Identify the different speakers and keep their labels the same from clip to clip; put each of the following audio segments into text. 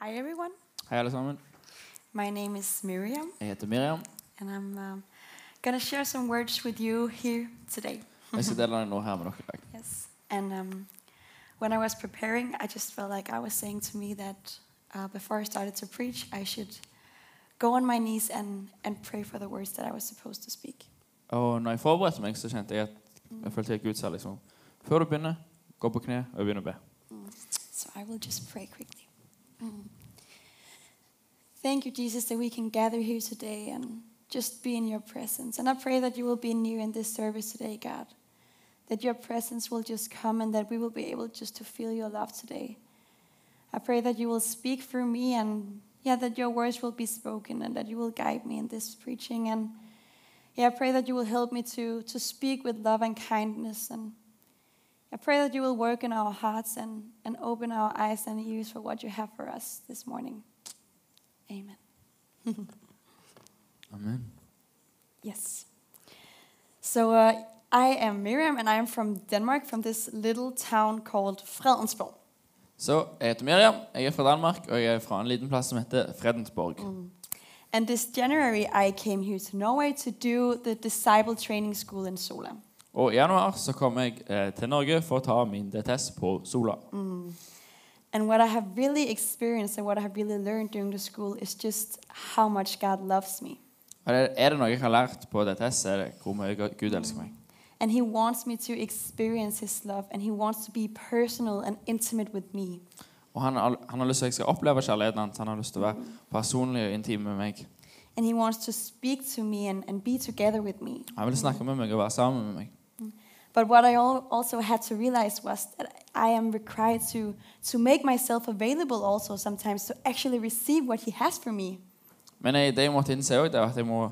Speaker 1: Hi, everyone.
Speaker 2: Hei, alle sammen.
Speaker 1: My name is Miriam,
Speaker 2: Jeg heter Miriam.
Speaker 1: and I'm um, going to share some words with you here today.
Speaker 2: Jeg skal dele noe her med dere i dag.
Speaker 1: Yes. And um, when I was preparing, I just felt like I was saying to me that uh, before I started to preach, I should go on my knees and, and pray for the words that I was supposed to speak.
Speaker 2: Og når jeg forberedte meg, så kjente jeg at jeg følte at Gud sa liksom Før du begynner, gå på kne og begynn å be.
Speaker 1: So I will just pray quickly. Mm. Thank you, Jesus, that we can gather here today and just be in your presence. And I pray that you will be near in this service today, God. That your presence will just come and that we will be able just to feel your love today. I pray that you will speak through me and, yeah, that your words will be spoken and that you will guide me in this preaching. And, yeah, I pray that you will help me to, to speak with love and kindness and I pray that you will work in our hearts and, and open our eyes and ears for what you have for us this morning. Amen.
Speaker 2: Amen.
Speaker 1: Yes. So uh, I am Miriam and I am from Denmark, from this little town called Fredensborg.
Speaker 2: Så jeg heter Miriam. Jeg er fra Danmark, og jeg er fra en liten plass som heter Fredensborg.
Speaker 1: Mm. And this January, I came here to Norway to do the disciple training school in Sola.
Speaker 2: Og i januar så kom jeg eh, til Norge for å ta min DTS på Sola.
Speaker 1: And what I have really experienced and what I have really learned during the school is just how much God loves me.
Speaker 2: Og det, er det noe jeg har lært på DTS, er det hvor mye Gud elsker meg.
Speaker 1: And he wants me to experience his love and he wants to be personal and intimate with me.
Speaker 2: Og han, har- han har lyst til at jeg skal oppleve kjærligheten hans. Han har lyst til å være personlig og intim med meg.
Speaker 1: And he wants to speak to me and, and be together with me.
Speaker 2: Han vil snakke med meg og være sammen med meg.
Speaker 1: But what I al- also had to realize was that I am required to, to make myself available also sometimes to actually receive what he has for me.
Speaker 2: Men jeg, det jeg måtte innse også, det er at jeg må,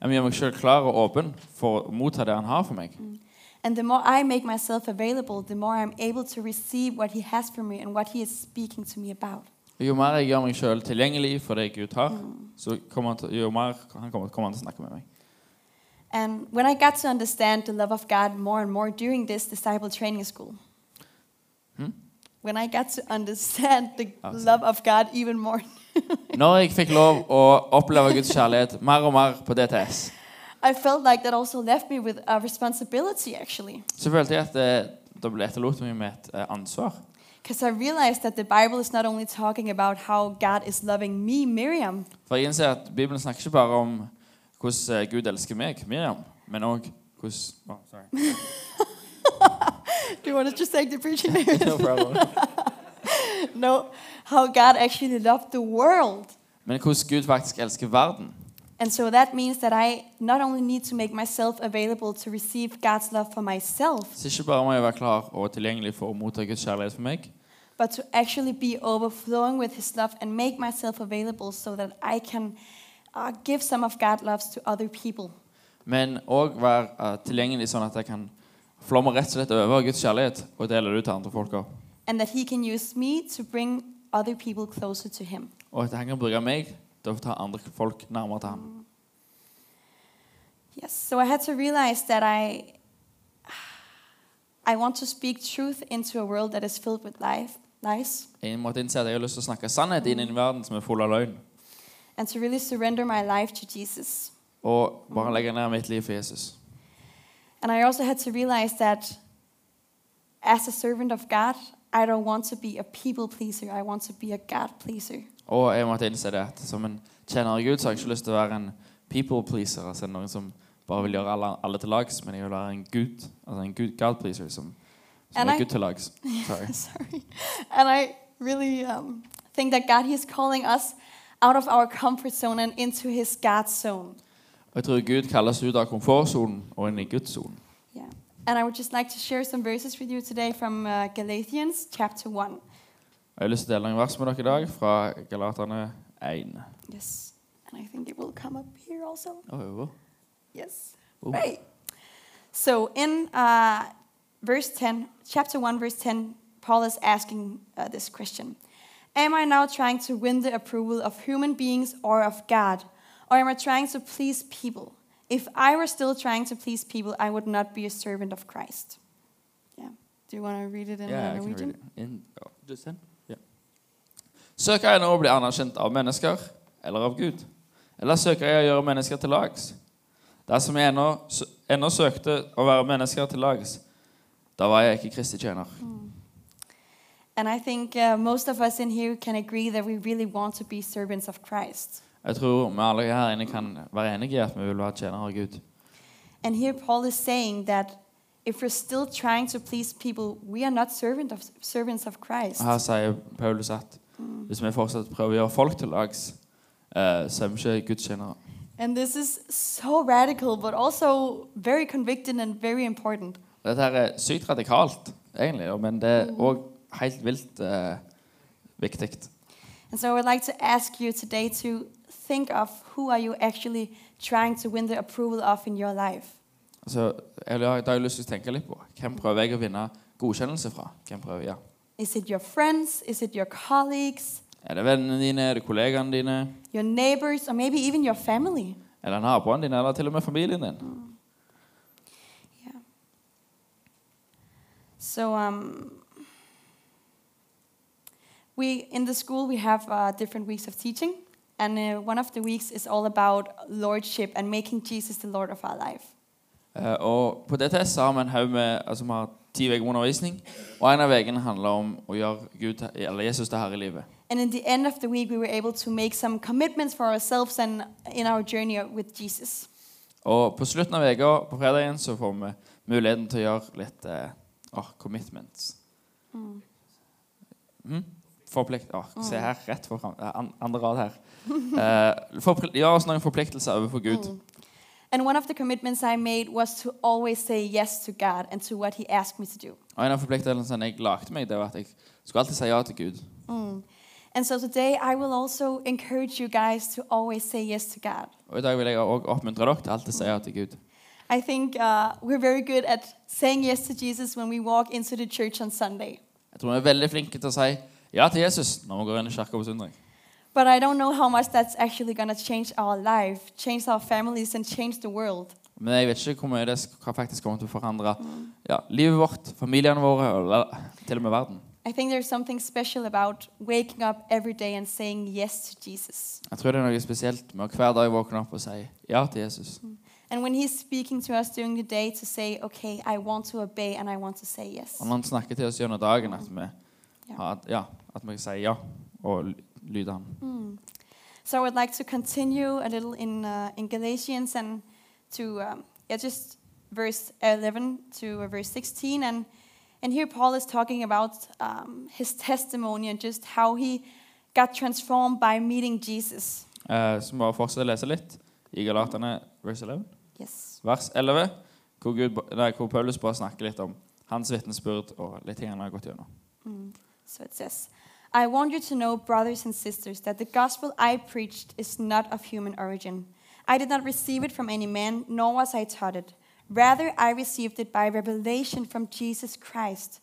Speaker 2: jeg må gjøre meg selv klar og åpen for å motta det han har for meg.
Speaker 1: And the more I make myself available, the more I'm able to receive what he has for me and what he is speaking to me about.
Speaker 2: Og Jo mer jeg gjør meg selv tilgjengelig for det Gud har, så kommer han til, jo mer han kommer, kommer han til å snakke med meg.
Speaker 1: And when I got to understand the love of God more and more during this disciple training school,
Speaker 2: Hmm?
Speaker 1: when I got to understand the
Speaker 2: Oh, sorry.
Speaker 1: love of God even more,
Speaker 2: Når jeg fikk lov å oppleve Guds kjærlighet mer og mer på DTS,
Speaker 1: I felt like that also left me with a responsibility actually.
Speaker 2: så følte jeg at det, det ble etterlot meg med et eh, ansvar.
Speaker 1: Because I realized that the Bible is not only talking about how God is loving me, Miriam,
Speaker 2: For jeg innser at Bibelen snakker ikke bare om hvordan eh, Gud elsker meg, Miriam, men også hvordan Å, sorry.
Speaker 1: do you want to just take the preaching?
Speaker 2: No problem.
Speaker 1: no, how God actually loved the world.
Speaker 2: Men hvordan Gud faktisk elsker verden.
Speaker 1: And so that means that I not only need to make myself available to receive God's love for myself,
Speaker 2: Så ikke bare må jeg være klar og tilgjengelig for å motta Guds kjærlighet for meg,
Speaker 1: but to actually be overflowing with his love and make myself available so that I can uh, give some of God's love to other people.
Speaker 2: men òg være eh, tilgjengelig sånn at jeg kan flomme rett og slett over Guds kjærlighet og dele det ut til andre folk òg.
Speaker 1: And that he can use me to bring other people closer to him.
Speaker 2: Og at han kan bruke meg til å ta andre folk nærmere til ham.
Speaker 1: Yes, so I had to realize that I I want to speak truth into a world that is filled with life, lies
Speaker 2: Jeg måtte innse at jeg har lyst til å snakke sannhet inn i en verden som er full av løgn.
Speaker 1: and to really surrender my life to Jesus.
Speaker 2: Og bare legge ned mitt liv for Jesus.
Speaker 1: And I also had to realize that as a servant of God, I don't want to be a people pleaser. I want to be a God pleaser.
Speaker 2: Og jeg måtte innse det at som en tjener av Gud så har jeg ikke lyst til å være en people pleaser, altså noen som bare vil gjøre alle, alle til lags, men jeg vil være en Gud, altså en Gud, God pleaser som,
Speaker 1: And
Speaker 2: som
Speaker 1: I-
Speaker 2: er Gud til lags. Sorry.
Speaker 1: Sorry. And I really um, think that God, He's calling us out of our comfort zone and into His God zone.
Speaker 2: Og jeg tror Gud kaller oss ut av komfortsonen og inn i Guds sonen.
Speaker 1: Yeah. And I would just like to share some verses with you today from uh, Galatians chapter 1.
Speaker 2: Og Jeg har lyst til å dele noen vers med dere i dag fra Galaterne 1.
Speaker 1: Yes. And I think it will come up here also.
Speaker 2: Oi, oi, oi.
Speaker 1: Yes.
Speaker 2: Oh.
Speaker 1: Right. So in uh, verse 10, chapter 1, verse 10, Paul is asking uh, this question Am I now trying to win the approval of human beings or of God? Or am I trying to please people? If I were still trying to please people, I would not be a servant of Christ. Yeah. Do you want to read it in uh,
Speaker 2: Yeah, I can
Speaker 1: Norwegian?
Speaker 2: read it. In- oh, just then? Yeah. Søker jeg nå å bli anerkjent av mennesker eller av Gud? Eller søker jeg å gjøre mennesker til lags? Dersom jeg ennå, sø- ennå søkte å være mennesker til lags, da var jeg ikke Kristi tjener.
Speaker 1: And I think uh, most of us in here can agree that we really want to be servants of Christ.
Speaker 2: Jeg tror vi alle her inne kan være enige i at vi vil være tjenere av Gud.
Speaker 1: And here Paul is saying that if we're still trying to please people, we are not servant of, servants of Christ.
Speaker 2: Og her sier Paulus at hvis vi fortsatt prøver å gjøre folk til lags, eh, så er vi ikke Guds tjenere.
Speaker 1: And this is so radical, but also very convicting and very important.
Speaker 2: Dette her er sykt radikalt, egentlig, og- men det er òg helt vilt eh, viktig.
Speaker 1: And so I would like to ask you today to think of who are you actually trying to win the approval of in your life?
Speaker 2: Altså, jeg, vil ha- da har jeg lyst til å tenke litt på hvem prøver jeg å vinne godkjennelse fra. Hvem prøver, ja.
Speaker 1: Is it your friends? Is it your colleagues?
Speaker 2: Er det vennene dine, er det kollegaene dine,
Speaker 1: Your neighbors? Or maybe even your family?
Speaker 2: er det naboene dine, eller til og med familien din?
Speaker 1: Yeah. So um, we in the school we have uh, different weeks of teaching, and uh, one of the weeks is all about lordship and making Jesus the Lord of our life.
Speaker 2: Eh, og på DTS så har vi en haug med altså, vi har ti uker med undervisning, og en av ukene handler om å gjøre Gud, til- eller Jesus til herre i livet.
Speaker 1: And in the end of the week, we were able to make some commitments for ourselves and in our journey with Jesus.
Speaker 2: Og på slutten av uka, på fredagen, så får vi muligheten til å gjøre litt eh, åh, commitments. Mm. Forplikt... åh, se her, rett for fram, eh, an, andre rad her. Eh, forpli- gjør oss noen forpliktelser overfor Gud.
Speaker 1: Mm. And one of the commitments I made was to always say yes to God and to what He asked me to do.
Speaker 2: Og en av forpliktelsene jeg lagde meg, det var at jeg skulle alltid si ja til Gud.
Speaker 1: Mm. And so today, I will also encourage you guys to always say yes to God.
Speaker 2: Og i dag vil jeg også oppmuntre dere til alltid å si ja til Gud.
Speaker 1: I think uh, we're very good at saying yes to Jesus when we walk into the church on Sunday.
Speaker 2: Jeg tror vi er veldig flinke til å si ja til Jesus når vi går inn i kirka på søndag.
Speaker 1: But I don't know how much that's actually going to change our life, change our families, and change the world.
Speaker 2: Men jeg vet ikke hvor mye det sk- hva faktisk kommer til å forandre ja, livet vårt, familiene våre og la- til og med verden.
Speaker 1: I think there's something special about waking up every day and saying yes to Jesus.
Speaker 2: Jeg tror det er noe spesielt med å hver dag våkne opp og si ja til Jesus.
Speaker 1: And when he's speaking to us during the day to say, okay, I want to obey and I want to say yes.
Speaker 2: Og når han snakker til oss gjennom dagen, at vi,
Speaker 1: Ja.
Speaker 2: har- at, ja, at vi sier ja og ly- lyder ham.
Speaker 1: Mm. So I would like to continue a little in, uh, in Galatians and to, um, yeah, just verse 11 to uh, verse 16. And, and here Paul is talking about um, his testimony and just how he got transformed by meeting Jesus.
Speaker 2: Eh, så må vi fortsette å lese litt i Galaterne vers 11,
Speaker 1: Yes.
Speaker 2: vers 11 hvor, Gud, ba- nei, hvor Paulus bare snakker litt om hans vitnesbyrd og litt ting han har gått gjennom.
Speaker 1: Mm. So it says, I want you to know, brothers and sisters, that the gospel I preached is not of human origin. I did not receive it from any man, nor was I taught it. Rather, I received it by revelation from Jesus Christ.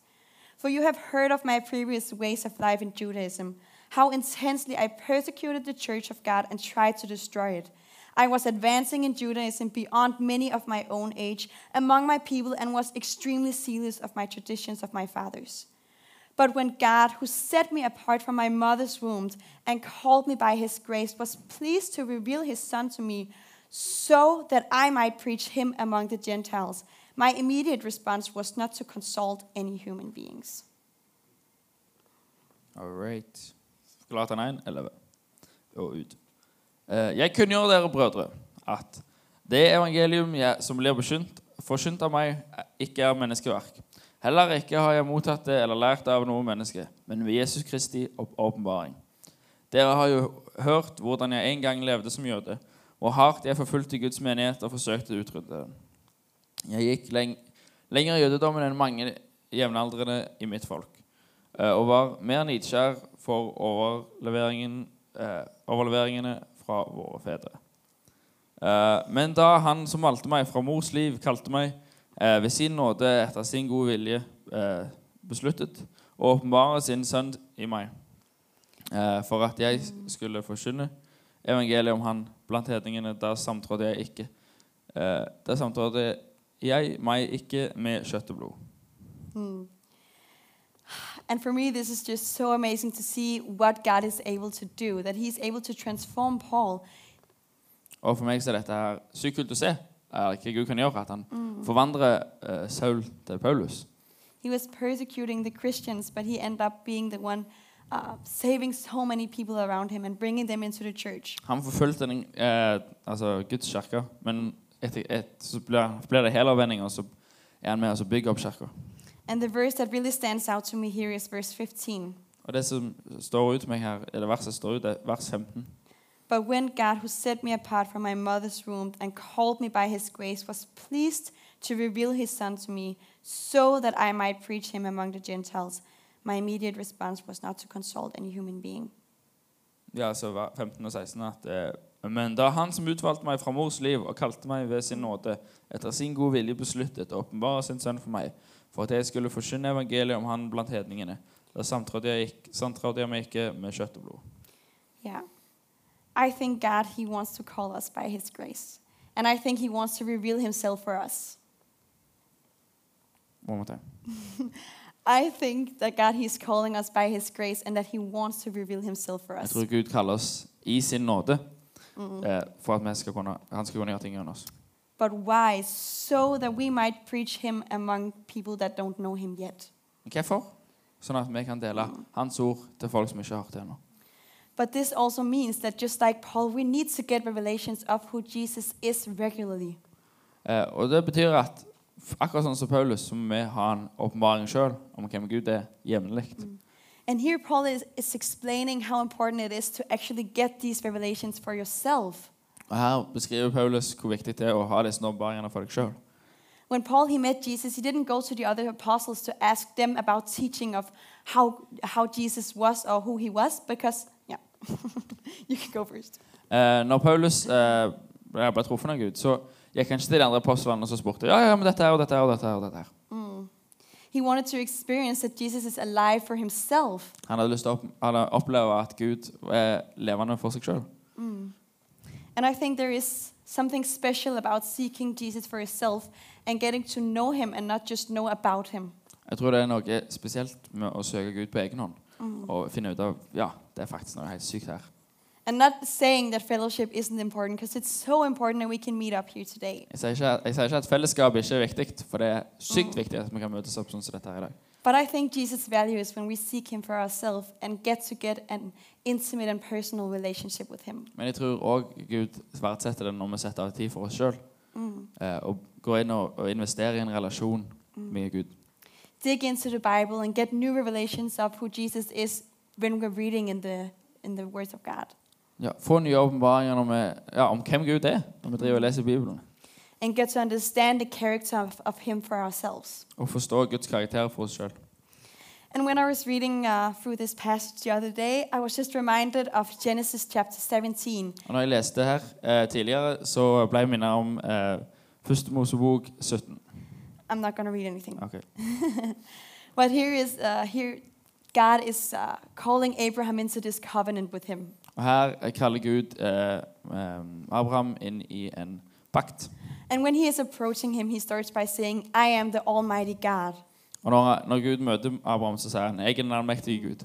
Speaker 1: For you have heard of my previous ways of life in Judaism, how intensely I persecuted the church of God and tried to destroy it. I was advancing in Judaism beyond many of my own age among my people and was extremely zealous of my traditions of my fathers. But when God, who set me apart from my mother's womb and called me by his grace, was pleased to reveal his son to me so that I might preach him among the Gentiles, my immediate response was not to consult any human beings.
Speaker 2: All right. Galaterne 1, 11 og ut. Eh, Jeg kunngjør dere, brødre, at det evangelium jeg, som blir beskynt, forkynt av meg, eh, ikke er menneskeverk. Heller ikke har jeg mottatt det eller lært det av noe menneske, men ved Jesus Kristi opp- åpenbaring. Dere har jo hørt hvordan jeg en gang levde som jøde, og hardt jeg forfulgte Guds menighet og forsøkte å utrydde den. Jeg gikk leng lenger i jødedommen enn mange jevnaldrende i mitt folk eh, og var mer nidkjær for overleveringen, eh, overleveringene fra våre fedre. Eh, men da han som valgte meg fra mors liv, kalte meg eh, ved sin nåde etter sin gode vilje eh, besluttet å åpenbare sin sønn i meg, eh, for at jeg skulle forkynne evangeliet om han blant hedningene, der samtrådte jeg ikke. Eh, der samtrådte jeg meg ikke med kjøtt og blod.
Speaker 1: Hmm. And for me, this is just so amazing to see what God is able to do, that He's able to transform Paul.
Speaker 2: Og for meg så er dette her sykt kult å se. eh, Hva Gud kan gjøre. At han
Speaker 1: Hmm.
Speaker 2: forvandler eh, Saul til Paulus.
Speaker 1: He was persecuting the Christians, but he ended up being the one uh, saving so many people around him and bringing them into the church.
Speaker 2: Han forfulgte den, eh, altså Guds kirke, men etter, et, så blir, han- blir det helomvending, og så er han med og så bygger opp kirka.
Speaker 1: And the verse that really stands out to me here is verse 15.
Speaker 2: Og det som står ut meg her, eller verset står ut, det er vers 15.
Speaker 1: But when God, who set me apart from my mother's womb and called me by his grace, was pleased to reveal his son to me so that I might preach him among the Gentiles, my immediate response was not to consult any human being.
Speaker 2: Ja, altså ver- 15 og 16 at eh, Men da han som utvalgte meg fra mors liv og kalte meg ved sin nåde, etter sin gode vilje besluttet å åpenbare sin sønn for meg, for at jeg skulle forkynne evangeliet om han blant hedningene, da samtrådte jeg, ikk- samtrådte jeg meg ikke med kjøtt og blod.
Speaker 1: Yeah. I think God, he wants to call us by his grace. And I think he wants to reveal himself for us.
Speaker 2: One more time.
Speaker 1: I think that God, he's calling us by his grace and that he wants to reveal himself for
Speaker 2: Jeg
Speaker 1: us.
Speaker 2: tror Gud kaller oss i sin nåde
Speaker 1: Mm.
Speaker 2: eh, for at vi skal kunne, han skal kunne gjøre ting gjennom oss.
Speaker 1: But why? So that we might preach him among people that don't know him yet.
Speaker 2: Men Hvorfor? Sånn at vi kan dele hans ord til folk som ikke har hørt det ennå.
Speaker 1: But this also means that just like Paul, we need to get revelations of who Jesus is regularly.
Speaker 2: Eh, og det betyr at f- akkurat sånn som Paulus, så må vi ha en åpenbaring sjøl om hvem Gud er, jevnlig.
Speaker 1: And here Paul is, is explaining how important it is to actually get these revelations for yourself.
Speaker 2: Og her beskriver Paulus hvor viktig det er å ha disse åpenbaringene for deg sjøl.
Speaker 1: When Paul he met Jesus, he didn't go to the other apostles to ask them about teaching of how how Jesus was or who he was because yeah. you can go first.
Speaker 2: Eh, når Paulus eh, ble ble truffet av Gud, så gikk han ikke til de andre apostlene og så spurte ja, ja, men dette her og dette her og dette her. og dette her.
Speaker 1: He wanted to experience that Jesus is alive for himself.
Speaker 2: Han hadde lyst til å opp, han hadde oppleve at Gud er levende for seg sjøl.
Speaker 1: Mm. And I think there is something special about seeking Jesus for yourself and getting to know him and not just know about him.
Speaker 2: Jeg tror det er noe spesielt med å søke Gud på egen hånd og finne ut av ja, det er faktisk noe helt sykt her.
Speaker 1: And not saying that fellowship isn't important because it's so important that we can meet up here today.
Speaker 2: Jeg sier, ikke, jeg sier ikke at fellesskap ikke er viktig, for det er sykt viktig at vi kan møtes opp sånn som dette her i dag.
Speaker 1: But I think Jesus' value is when we seek him for ourselves and get to get an intimate and personal relationship with him.
Speaker 2: Men jeg tror òg Gud verdsetter det når vi setter av tid for oss sjøl.
Speaker 1: Mm.
Speaker 2: Eh, og går inn og, og investerer i en relasjon med Gud.
Speaker 1: Dig into the Bible and get new revelations of who Jesus is when we're reading in the in the words of God.
Speaker 2: Ja, få nye åpenbaringer når vi- ja, om hvem Gud er når vi driver og leser Bibelen.
Speaker 1: And get to understand the character of, of him for ourselves.
Speaker 2: Og forstå Guds karakter for oss sjøl.
Speaker 1: And when I was reading uh, through this passage the other day, I was just reminded of Genesis chapter 17.
Speaker 2: Og når jeg leste her eh, tidligere, så ble jeg minnet om eh, Første Mosebok 17.
Speaker 1: I'm not going to read anything.
Speaker 2: Ok.
Speaker 1: But here is uh, here God is uh, calling Abraham into this covenant with him.
Speaker 2: Og her kaller Gud eh, eh, Abraham inn i en pakt.
Speaker 1: And when he is approaching him, he starts by saying, I am the Almighty God.
Speaker 2: Og når, når Gud møter Abraham, så sier han 'Jeg er den allmektige Gud'.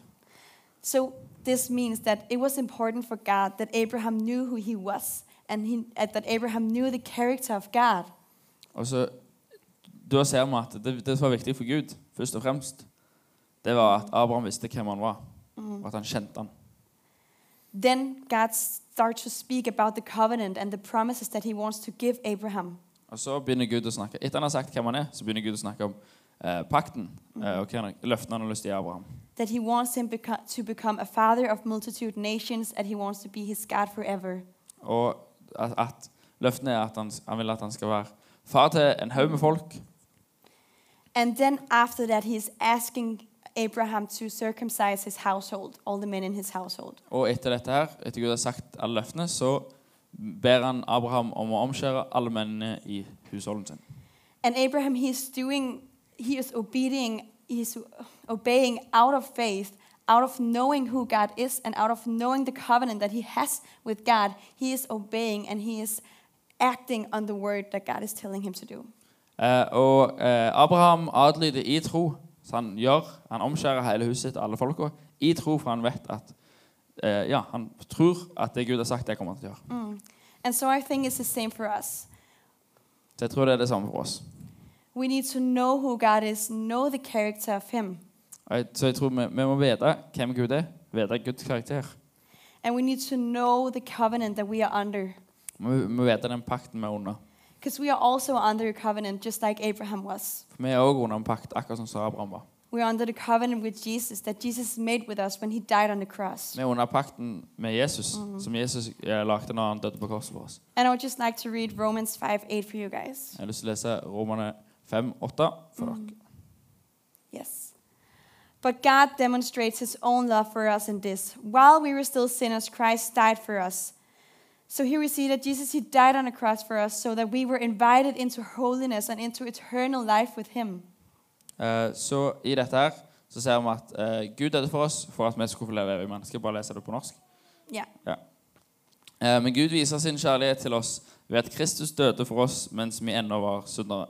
Speaker 1: So this means that it was important for God that Abraham knew who he was and he, and that Abraham knew the character of God.
Speaker 2: Og så, Da ser vi at det, det som var viktig for Gud, først og fremst, det var at Abraham visste hvem han var, og at han kjente han.
Speaker 1: Then God starts to speak about the covenant and the promises that he wants to give Abraham.
Speaker 2: Og så begynner Gud å snakke. Etter han har sagt hvem han er, så begynner Gud å snakke om eh, pakten eh, og hva han- løftene han har lyst til å gi Abraham.
Speaker 1: that he wants him beco- to become a father of multitude nations and he wants to be his God forever.
Speaker 2: Og at, at løftene er at han, han vil at han skal være far til en haug med folk.
Speaker 1: And then after that, he's asking Abraham to circumcise his household, all the men in his household.
Speaker 2: Og etter dette her, etter Gud har sagt alle løftene, så ber han Abraham om å omskjære alle mennene i husholden sin.
Speaker 1: And Abraham, he is doing, he is obeying, he is obeying out of faith, out of knowing who God is, and out of knowing the covenant that he has with God. He is obeying and he is acting on the word that God is telling him to do.
Speaker 2: Eh, og eh, Abraham adlyder i tro Så han gjør, han omskjærer hele huset sitt og alle folka i tro, for han vet at eh, Ja, han tror at det Gud har sagt, det kommer han til å gjøre.
Speaker 1: Mm. And so I think it's the same for us.
Speaker 2: Så jeg tror det er det samme for oss.
Speaker 1: We need to know who God is, know the character of Him,
Speaker 2: Og jeg, så jeg tror vi, vi må vite hvem Gud er, vite Guds karakter.
Speaker 1: and we need to know the covenant that we are under.
Speaker 2: Vi vi må vite den pakten vi er under.
Speaker 1: Because we are also under a covenant, just like Abraham was.
Speaker 2: For vi er òg under en pakt, akkurat som Sara Abraham var.
Speaker 1: We are under the covenant with Jesus that Jesus made with us when he died on the cross.
Speaker 2: Vi er under pakten med Jesus, som Jesus eh, lagde når han døde på korset for oss.
Speaker 1: And I would just like to read Romans 5 8 for you guys. Mm.
Speaker 2: Jeg har lyst til å lese Romerne 5, 8 for dere.
Speaker 1: Yes. But God demonstrates his own love for us in this. While we were still sinners, Christ died for us. So here we see that Jesus, he died on the cross for us so that we were invited into holiness and into eternal life with him.
Speaker 2: Eh, så i dette her så ser vi at eh, Gud døde for oss for at vi skulle få leve evig. Men jeg skal bare lese det på norsk.
Speaker 1: Ja.
Speaker 2: Eh, men Gud viser sin kjærlighet til oss ved at Kristus døde for oss mens vi ennå var syndere.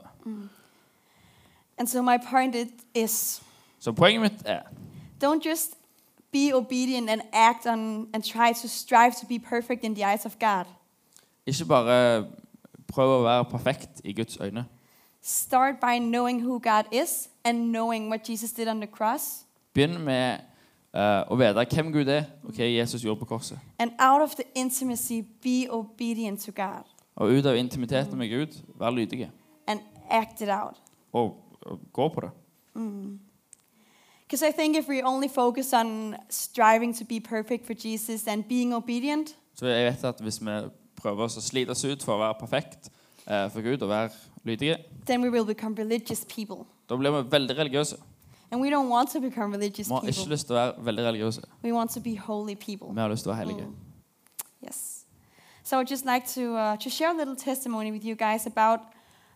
Speaker 1: And so my point it- is
Speaker 2: Så poenget mitt er
Speaker 1: don't just be obedient and act on and try to strive to be perfect in the eyes of God.
Speaker 2: ikke bare prøv å være perfekt i Guds øyne.
Speaker 1: Start by knowing who God is and knowing what Jesus did on the cross.
Speaker 2: Begynn med eh, å vite hvem Gud er, og hva Jesus gjorde på korset.
Speaker 1: And out of the intimacy, be obedient to God
Speaker 2: Og ut av intimiteten med Gud, vær lydige.
Speaker 1: and act it out.
Speaker 2: Og, og gå på det.
Speaker 1: Because I think if we only focus on striving to be perfect for Jesus and being obedient,
Speaker 2: Så jeg vet at hvis vi prøver oss å slite oss ut for å være perfekt eh, for Gud og være lydige,
Speaker 1: then we will become religious people.
Speaker 2: da blir vi veldig religiøse.
Speaker 1: And we don't want to become religious
Speaker 2: Vi har ikke
Speaker 1: people.
Speaker 2: lyst til å være veldig religiøse.
Speaker 1: We want to be holy people.
Speaker 2: Vi har lyst til å være hellige.
Speaker 1: Mm. Yes. So I'd just like to, uh, to share a little testimony with you guys about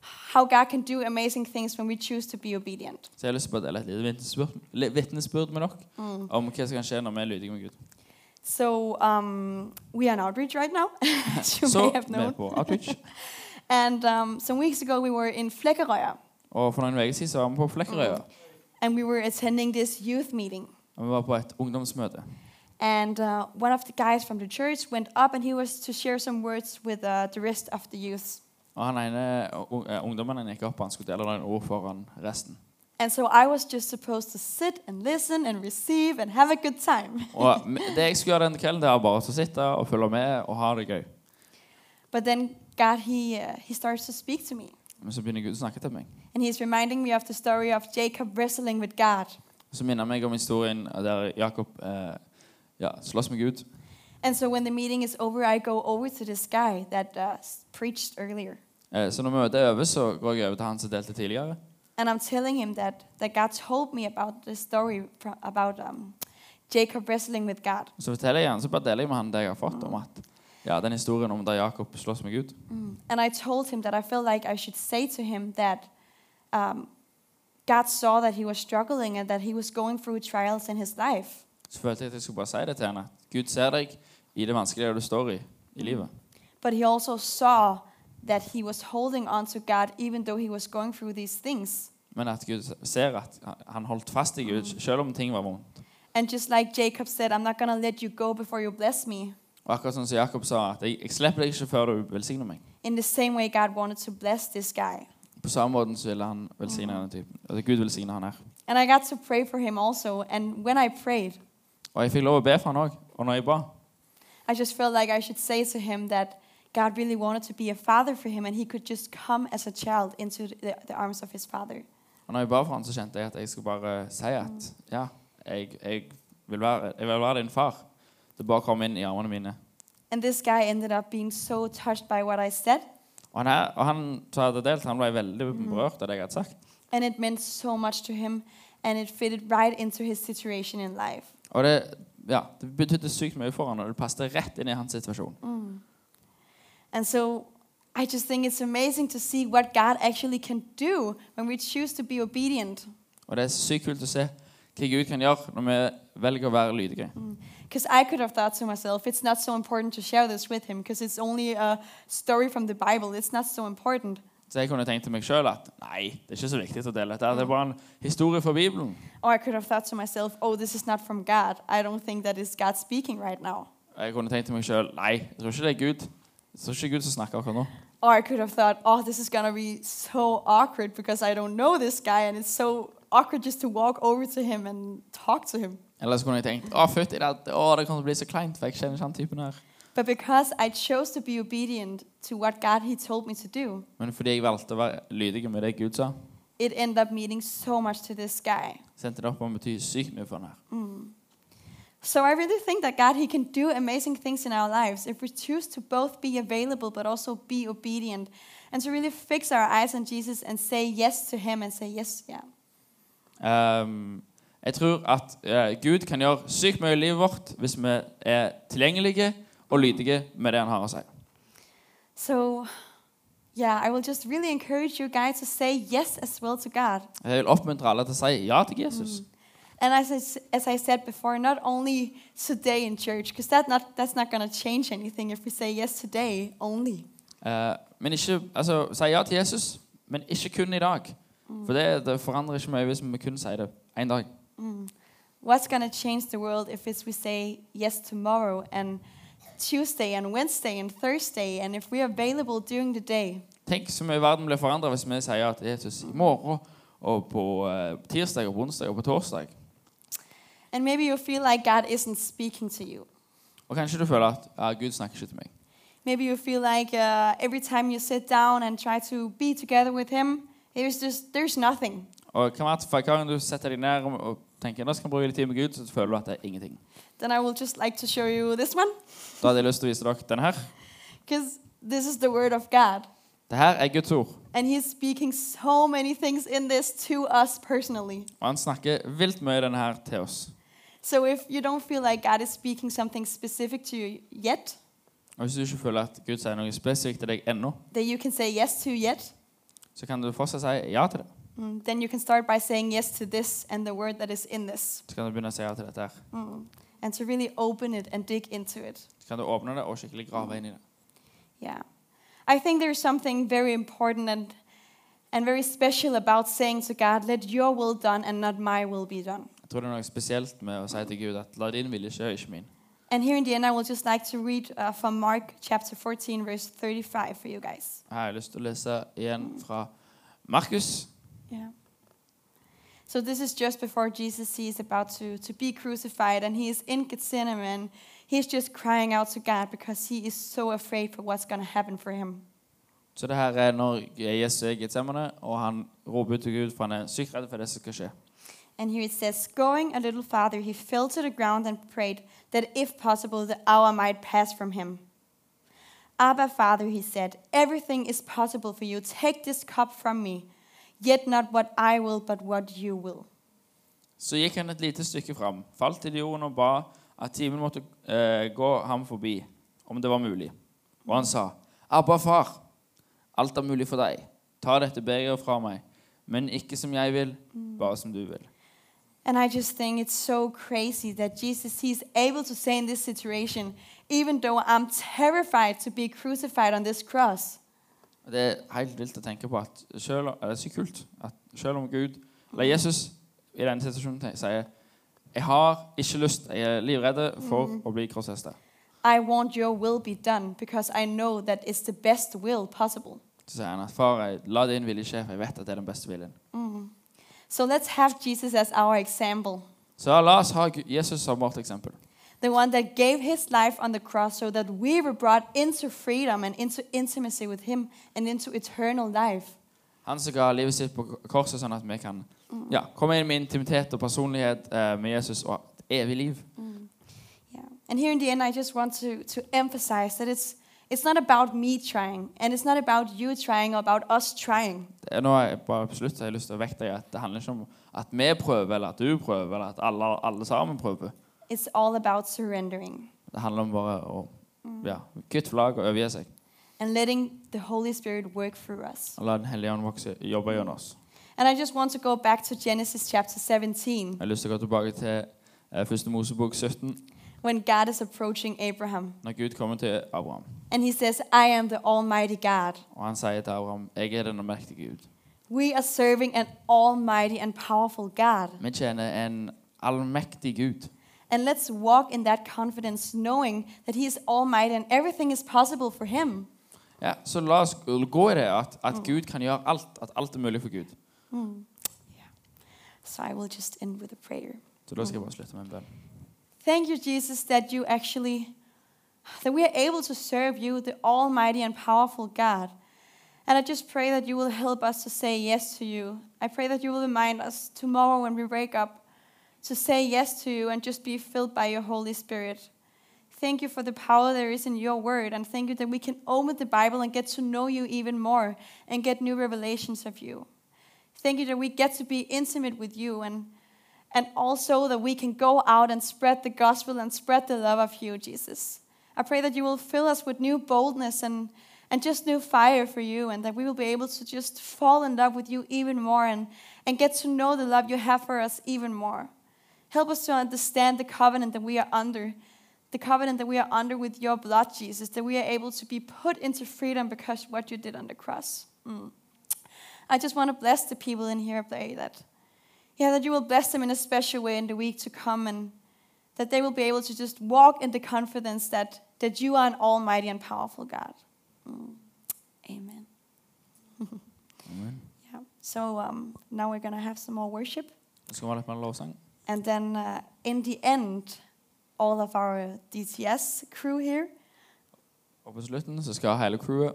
Speaker 1: how God can do amazing things when we choose to be obedient.
Speaker 2: Så jeg har lyst til å dele et lite vitnesbyrd, li- vitnesbyrd med dere
Speaker 1: Mm.
Speaker 2: om hva som kan skje når vi er lydige med Gud.
Speaker 1: So um, we are on outreach right now, as you
Speaker 2: Så
Speaker 1: may have
Speaker 2: vi er
Speaker 1: known.
Speaker 2: på outreach.
Speaker 1: And um, some weeks ago, we were in Flekkerøya,
Speaker 2: Og for noen uker siden så var vi på Flekkerøya.
Speaker 1: and we were attending this youth meeting.
Speaker 2: Og vi var på et ungdomsmøte.
Speaker 1: And uh, one of the guys from the church went up, and he was to share some words with uh, the rest of the youth.
Speaker 2: Og han ene u- eh, ungdommen han gikk opp, han skulle dele noen ord foran resten.
Speaker 1: And so I was just supposed to sit and listen and receive and have a good time.
Speaker 2: Og eh, m- det jeg skulle gjøre den kvelden, det var bare å sitte og følge med og ha det gøy.
Speaker 1: But then God, he, uh, he starts to speak to me.
Speaker 2: Men så begynner Gud å snakke til meg.
Speaker 1: And he's reminding me of the story of Jacob wrestling with God.
Speaker 2: Og så minner han meg om historien der Jakob eh, ja, slåss med Gud.
Speaker 1: And so when the meeting is over, I go over to this guy that uh, s- preached earlier.
Speaker 2: Eh, så når møtet er over, så går jeg over til han som delte tidligere.
Speaker 1: And I'm telling him that, that God told me about this story fro- about um, Jacob wrestling with God.
Speaker 2: Og så forteller jeg han, så bare deler jeg med han det jeg har fått om at ja, den historien om da Jakob slåss med Gud.
Speaker 1: And I told him that I felt like I should say to him that um, God saw that he was struggling and that he was going through trials in his life.
Speaker 2: Så følte jeg at jeg skulle bare si det til henne. at Gud ser deg i det vanskelige du står i i livet.
Speaker 1: But he also saw that he was holding on to God even though he was going through these things.
Speaker 2: Men at Gud ser at han holdt fast i Gud selv om ting var vondt.
Speaker 1: And just like Jacob said, I'm not going to let you go before you bless me.
Speaker 2: Og akkurat sånn som Jakob sa, at jeg, jeg slipper deg ikke før du velsigner meg.
Speaker 1: In the same way, God wanted to bless this guy.
Speaker 2: På samme måten så ville han velsigne denne typen. At Gud velsigner han her.
Speaker 1: And I got to pray for him also. And when I prayed,
Speaker 2: Og jeg fikk lov å be for han òg. Og når jeg ba,
Speaker 1: I just felt like I should say to him that God really wanted to be a father for him and he could just come as a child into the, the arms of his father.
Speaker 2: og når jeg ba for han, så kjente jeg at jeg skulle bare si at ja, jeg, jeg, vil, være, jeg vil være din far. Det bare kom inn i armene mine.
Speaker 1: And this guy ended up being so touched by what I said.
Speaker 2: Og han, her, og han som hadde delt, han ble veldig berørt av det jeg hadde sagt.
Speaker 1: And it meant so much to him and it fitted right into his situation in life.
Speaker 2: Og det, ja, det betydde sykt mye for han, og det passet rett inn i hans situasjon.
Speaker 1: And so I just think it's amazing to see what God actually can do when we choose to be obedient.
Speaker 2: Og det er sykt kult å se hva Gud kan gjøre når vi velger å være lydige.
Speaker 1: Because I could have thought to myself, it's not so important to share this with him because it's only a story from the Bible. It's not so important.
Speaker 2: Så jeg kunne tenkt til meg sjøl at nei, det er ikke så viktig å dele dette. Det er bare en historie fra Bibelen.
Speaker 1: Or I could have thought to myself, oh, this is not from God. I don't think that is God speaking right now.
Speaker 2: Og jeg kunne tenkt til meg sjøl nei, jeg tror ikke det er Gud. Jeg tror ikke Gud som snakker akkurat nå.
Speaker 1: Or I could have thought, oh, this is going to be so awkward because I don't know this guy and it's so awkward just to walk over to him and talk to him.
Speaker 2: Eller så kunne jeg tenkt å, fytti det, å, det kommer til å bli så kleint, for jeg kjenner ikke han typen her.
Speaker 1: But because I chose to be obedient to what God He told me to do,
Speaker 2: Men fordi jeg valgte å være lydig med det Gud sa,
Speaker 1: it ended up meaning so much to this guy.
Speaker 2: sendte det opp og betyr sykt mye for han her.
Speaker 1: So I really think that God He can do amazing things in our lives if we choose to both be available but also be obedient and to really fix our eyes on Jesus and say yes to Him and say yes, yeah.
Speaker 2: Ehm, jeg tror at eh, Gud kan gjøre sykt mye i livet vårt hvis vi er tilgjengelige og lydige med det han har å si.
Speaker 1: So yeah, I will just really encourage you guys to say yes as well to God.
Speaker 2: Jeg vil oppmuntre alle til å si ja til Jesus.
Speaker 1: And as I, s- as I said before, not only today in church, because that not, that's not going to change anything if we say yes today only.
Speaker 2: Eh, men ikke, altså, Si ja til Jesus, men ikke kun i dag. For det, det forandrer ikke mye hvis vi kun sier det én dag.
Speaker 1: Mm. What's going to change the world if it's we say yes tomorrow and Tuesday and Wednesday and Thursday and if we're available during the day?
Speaker 2: Tenk så mye verden blir forandra hvis vi sier ja til Jesus i morgen og på eh, tirsdag og på onsdag og på torsdag.
Speaker 1: And maybe you feel like God isn't speaking to you.
Speaker 2: Og kanskje du føler at ja, Gud snakker ikke til meg.
Speaker 1: Maybe you feel like uh, every time you sit down and try to be together with Him, there's just there's nothing.
Speaker 2: Og det kan være at for hver gang du setter deg ned og- og tenker nå skal jeg bruke litt tid med Gud, så føler du at det er ingenting.
Speaker 1: Then I will just like to show you this one
Speaker 2: Da hadde jeg lyst til å vise dere den her.
Speaker 1: because this is the Word of God.
Speaker 2: Det her er Guds ord.
Speaker 1: And he's speaking so many things in this to us personally.
Speaker 2: Og han snakker vilt mye den her til oss.
Speaker 1: So if you don't feel like God is speaking something specific to you yet,
Speaker 2: Og hvis du ikke føler at Gud sier noe spesifikt til deg ennå,
Speaker 1: that you can say yes to yet,
Speaker 2: så kan du fortsatt si ja til det.
Speaker 1: mm, then you can start by saying yes to this and the word that is in this,
Speaker 2: Så kan du begynne å si ja til dette her.
Speaker 1: Mm. and to really open it and dig into it.
Speaker 2: Så kan du åpne det og skikkelig grave inn i det.
Speaker 1: Yeah. I think there's something very important and, and very special about saying to God, let your will done and not my will be done.
Speaker 2: Jeg tror det er noe spesielt med å si til Gud at la din vilje skje, ikke min.
Speaker 1: And here in the end, I will just like to read uh, from Mark chapter 14, verse 35 for you guys.
Speaker 2: Her har jeg lyst til å lese igjen fra Markus.
Speaker 1: Yeah. So this is just before Jesus he is about to, to be crucified and he is in Gethsemane. He's just crying out to God because he is so afraid for what's going to happen for him.
Speaker 2: Så det her er når Jesus er i Getsemane, og han roper ut til Gud, for han er sykt redd for det som skal skje.
Speaker 1: And here it says, Going a little farther, he fell to the ground and prayed that if possible the hour might pass from him. Abba, Father, he said, everything is possible for you. Take this cup from me, yet not what I will, but what you will.
Speaker 2: Så gikk han et lite stykke fram, falt til jorden og ba at timen måtte eh, gå ham forbi, om det var mulig. Og han sa, Abba, far, alt er mulig for deg. Ta dette begeret fra meg, men ikke som jeg vil, bare som du vil.
Speaker 1: And I just think it's so crazy that Jesus, he's able to say in this situation, even though I'm terrified to be crucified on this cross,
Speaker 2: Og Det er helt vilt å tenke på at selv, eller det er så kult, at selv om Gud, eller Jesus i denne situasjonen te- sier, jeg har ikke lyst, jeg er livredde for å bli krossestet.
Speaker 1: I want your will be done because I know that it's the best will possible.
Speaker 2: Så sier han at far, jeg- la din vilje skje, for jeg vet at det er den beste viljen.
Speaker 1: So let's have Jesus as our example,
Speaker 2: Så la oss ha Gu- Jesus som vårt eksempel.
Speaker 1: the one that gave his life on the cross so that we were brought into freedom and into intimacy with him and into eternal life.
Speaker 2: Han som ga livet sitt på korset, sånn at vi kan ja, komme inn med intimitet og personlighet eh, med Jesus og et evig liv.
Speaker 1: Mm. Yeah. And here in the end, I just want to, to emphasize that it's, it's not about me trying, and it's not about you trying or about us trying.
Speaker 2: Det er nå jeg bare på slutt, så har jeg lyst til å vekte deg at det handler ikke om at vi prøver, eller at du prøver, eller at alle, alle sammen prøver.
Speaker 1: It's all about surrendering
Speaker 2: Det handler om bare å ja, kutte flagg og overgi seg.
Speaker 1: and letting the Holy Spirit work through us.
Speaker 2: Og la Den hellige ånd vokse, jobbe gjennom oss.
Speaker 1: And I just want to go back to Genesis chapter 17
Speaker 2: Jeg har lyst til å gå tilbake til eh, første Mosebok 17,
Speaker 1: when God is approaching Abraham.
Speaker 2: når Gud kommer til Abraham.
Speaker 1: and he says, I am the Almighty God.
Speaker 2: Og han sier til Abraham, 'Jeg er den allmektige Gud'.
Speaker 1: We are serving an Almighty and powerful God.
Speaker 2: Vi tjener en allmektig Gud.
Speaker 1: And let's walk in that confidence, knowing that He is Almighty and everything is possible for Him.
Speaker 2: Ja, så la oss gå i det at, at Gud kan gjøre alt. At alt er mulig for Gud.
Speaker 1: So I will just end with a prayer.
Speaker 2: Så da skal jeg bare slutte med en bønn.
Speaker 1: Thank you, Jesus, that you actually, that we are able to serve you, the Almighty and powerful God. And I just pray that you will help us to say yes to you. I pray that you will remind us tomorrow when we wake up to say yes to you and just be filled by your Holy Spirit. Thank you for the power there is in your word, and thank you that we can open the Bible and get to know you even more and get new revelations of you. Thank you that we get to be intimate with you and and also that we can go out and spread the gospel and spread the love of you, Jesus. I pray that you will fill us with new boldness and, and just new fire for you, and that we will be able to just fall in love with you even more and, and get to know the love you have for us even more. Help us to understand the covenant that we are under, the covenant that we are under with your blood, Jesus, that we are able to be put into freedom because what you did on the cross. Mm. I just want to bless the people in here, pray that. Yeah, that you will bless them in a special way in the week to come and that they will be able to just walk in the confidence that, that you are an almighty and powerful God. Mm. Amen. Yeah. So um, now we're going to have some more worship.
Speaker 2: Så skal vi ha litt mer lovsang.
Speaker 1: And then uh, in the end, all of our DTS crew here,
Speaker 2: Og på slutten så skal hele crewet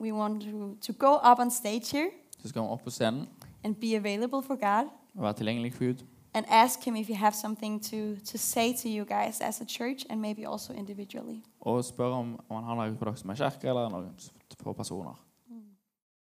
Speaker 1: we want to, to go up on stage here
Speaker 2: så skal vi opp på scenen
Speaker 1: and be available for God
Speaker 2: og være tilgjengelig for Gud.
Speaker 1: and ask Him if you have something to, to say to you guys as a church and maybe also individually.
Speaker 2: Og spørre om, om han har noe for dere som er kirke, eller noen for personer.
Speaker 1: Mm.